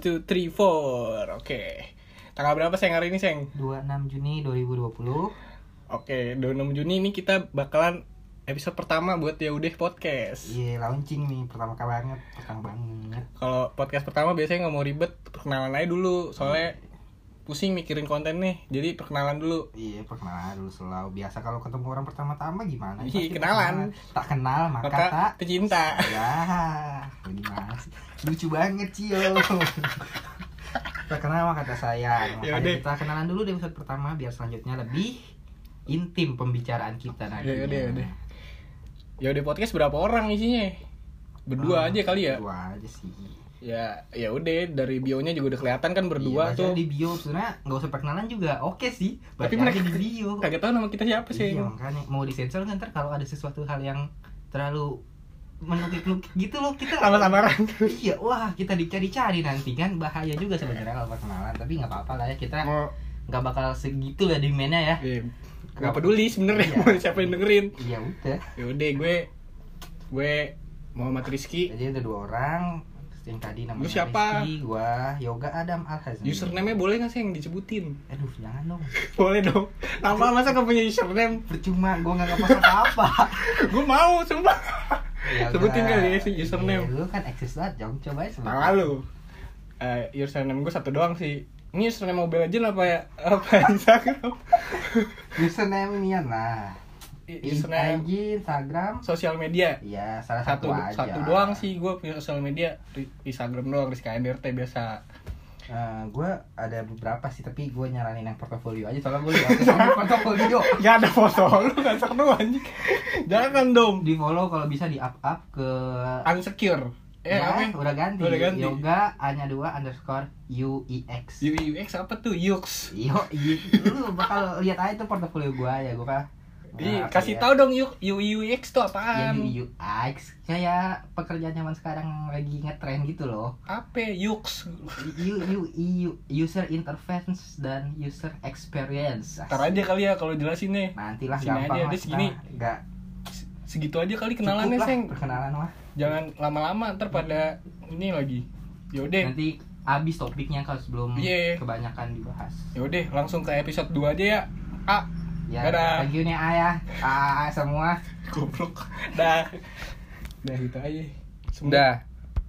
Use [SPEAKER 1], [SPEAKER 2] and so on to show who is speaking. [SPEAKER 1] Two, three, four. Oke. Tanggal berapa Seng hari ini Seng?
[SPEAKER 2] 26 Juni 2020
[SPEAKER 1] Oke, 26 Juni ini kita bakalan episode pertama buat Yaudeh Podcast.
[SPEAKER 2] Iya launching nih pertama kali banget Pertama banget
[SPEAKER 1] Kalau podcast pertama biasanya nggak mau ribet, perkenalan aja dulu. Soalnya pusing mikirin konten nih, jadi perkenalan dulu.
[SPEAKER 2] Iya perkenalan dulu selalu Biasa kalau ketemu orang pertama-tama gimana
[SPEAKER 1] Iya,
[SPEAKER 2] Pasti
[SPEAKER 1] kenalan.
[SPEAKER 2] perkenalan. Tak kenal maka,
[SPEAKER 1] Maka iya.
[SPEAKER 2] tak
[SPEAKER 1] pecinta.
[SPEAKER 2] Ya Gimana sih? Lucu banget Cio Tak kenal maka tak sayang Makanya
[SPEAKER 1] Yaudah.
[SPEAKER 2] kita kenalan dulu di episode pertama Biar selanjutnya lebih intim pembicaraan kita nantinya
[SPEAKER 1] Yaudah, yaudah. Yaudeh ya, Podcast berapa orang isinya? Berdua aja kali ya.
[SPEAKER 2] Ah, Berdua Hmm. aja sih
[SPEAKER 1] Ya, ya udah dari bionya juga udah kelihatan kan berdua
[SPEAKER 2] Iya,
[SPEAKER 1] tuh.
[SPEAKER 2] bacanya di bio sebenarnya nggak usah perkenalan juga oke sih
[SPEAKER 1] Tapi
[SPEAKER 2] bacanya
[SPEAKER 1] mereka-
[SPEAKER 2] di bio
[SPEAKER 1] Kagak tahu nama kita siapa sih.
[SPEAKER 2] iya makanya mau disensor kan ntar kalau ada sesuatu hal yang terlalu menukik-nukik gitu loh kita
[SPEAKER 1] Samar-samaran.
[SPEAKER 2] iya wah kita dicari-cari nanti kan bahaya juga sebenarnya kalau perkenalan tapi nggak apa-apa lah ya kita
[SPEAKER 1] Mau
[SPEAKER 2] nggak bakal segitu lah demandnya
[SPEAKER 1] eh,
[SPEAKER 2] ya
[SPEAKER 1] nggak peduli sebenarnya
[SPEAKER 2] Iya.
[SPEAKER 1] mau siapa yang dengerin.
[SPEAKER 2] iya udah
[SPEAKER 1] Ya udah gue gue Muhammad Rizky.
[SPEAKER 2] jadi ada dua orang Terus yang tadi namanya
[SPEAKER 1] Lu siapa?
[SPEAKER 2] Rizky, gua Yoga Adam Alhazni
[SPEAKER 1] Username-nya boleh nggak sih yang disebutin?
[SPEAKER 2] aduh jangan dong
[SPEAKER 1] Boleh dong. Nama masa gak punya username?
[SPEAKER 2] percuma gua nggak ngepost apa-apa
[SPEAKER 1] gue mau sumpah. Sebutin
[SPEAKER 2] udah.
[SPEAKER 1] kali ya si username.
[SPEAKER 2] Iya, lu kan eksis banget, jangan coba aja sebutin.
[SPEAKER 1] Nah, lalu eh username gue satu doang sih. Ini username Mobile Legends apa ya? Apa Instagram?
[SPEAKER 2] Username Mian lah.
[SPEAKER 1] username
[SPEAKER 2] IG, Instagram.
[SPEAKER 1] sosial media.
[SPEAKER 2] Iya, salah
[SPEAKER 1] Iya. satu
[SPEAKER 2] satu, aja.
[SPEAKER 1] satu doang sih gue punya sosial media di Instagram doang Rizka MDRT biasa
[SPEAKER 2] Eh, gua ada beberapa sih, tapi gua nyaranin yang portofolio aja soalnya gua lihat sama portofolio.
[SPEAKER 1] nggak ada foto lu nggak seru anjing jangan dong
[SPEAKER 2] Di follow kalau bisa di up up ke
[SPEAKER 1] unsecure eh
[SPEAKER 2] Ya,
[SPEAKER 1] apa ya?
[SPEAKER 2] udah ganti.
[SPEAKER 1] Udah ganti.
[SPEAKER 2] Yoga hanya dua underscore UIX.
[SPEAKER 1] UX apa tuh UX
[SPEAKER 2] Yo, i- lu bakal lihat aja tuh portofolio gua ya, gua kan.
[SPEAKER 1] Ih,
[SPEAKER 2] Nah, apa
[SPEAKER 1] kasih
[SPEAKER 2] ya?
[SPEAKER 1] tahu dong U- UX tuh
[SPEAKER 2] ya
[SPEAKER 1] apaan
[SPEAKER 2] UX kayak Ya, pekerjaan zaman sekarang lagi ngetren gitu loh
[SPEAKER 1] apa ya? UX
[SPEAKER 2] U, U, I- U- user interface dan user experience
[SPEAKER 1] ntar aja kali ya kalau jelasin nih
[SPEAKER 2] nantilah
[SPEAKER 1] Sini
[SPEAKER 2] gampang
[SPEAKER 1] aja,
[SPEAKER 2] lah
[SPEAKER 1] dia
[SPEAKER 2] kita
[SPEAKER 1] segini.
[SPEAKER 2] nggak
[SPEAKER 1] segitu aja kali
[SPEAKER 2] kenalan
[SPEAKER 1] kenalannya seng
[SPEAKER 2] perkenalan lah
[SPEAKER 1] jangan lama-lama ntar pada ini lagi yaudah
[SPEAKER 2] nanti abis topiknya kalau sebelum
[SPEAKER 1] Iya, iya.
[SPEAKER 2] kebanyakan dibahas
[SPEAKER 1] yaudah langsung ke episode 2 aja ya ah
[SPEAKER 2] ya
[SPEAKER 1] Dadah.
[SPEAKER 2] thank you nih ayah ah semua
[SPEAKER 1] goblok dah dah gitu aja Semua-
[SPEAKER 3] Udah,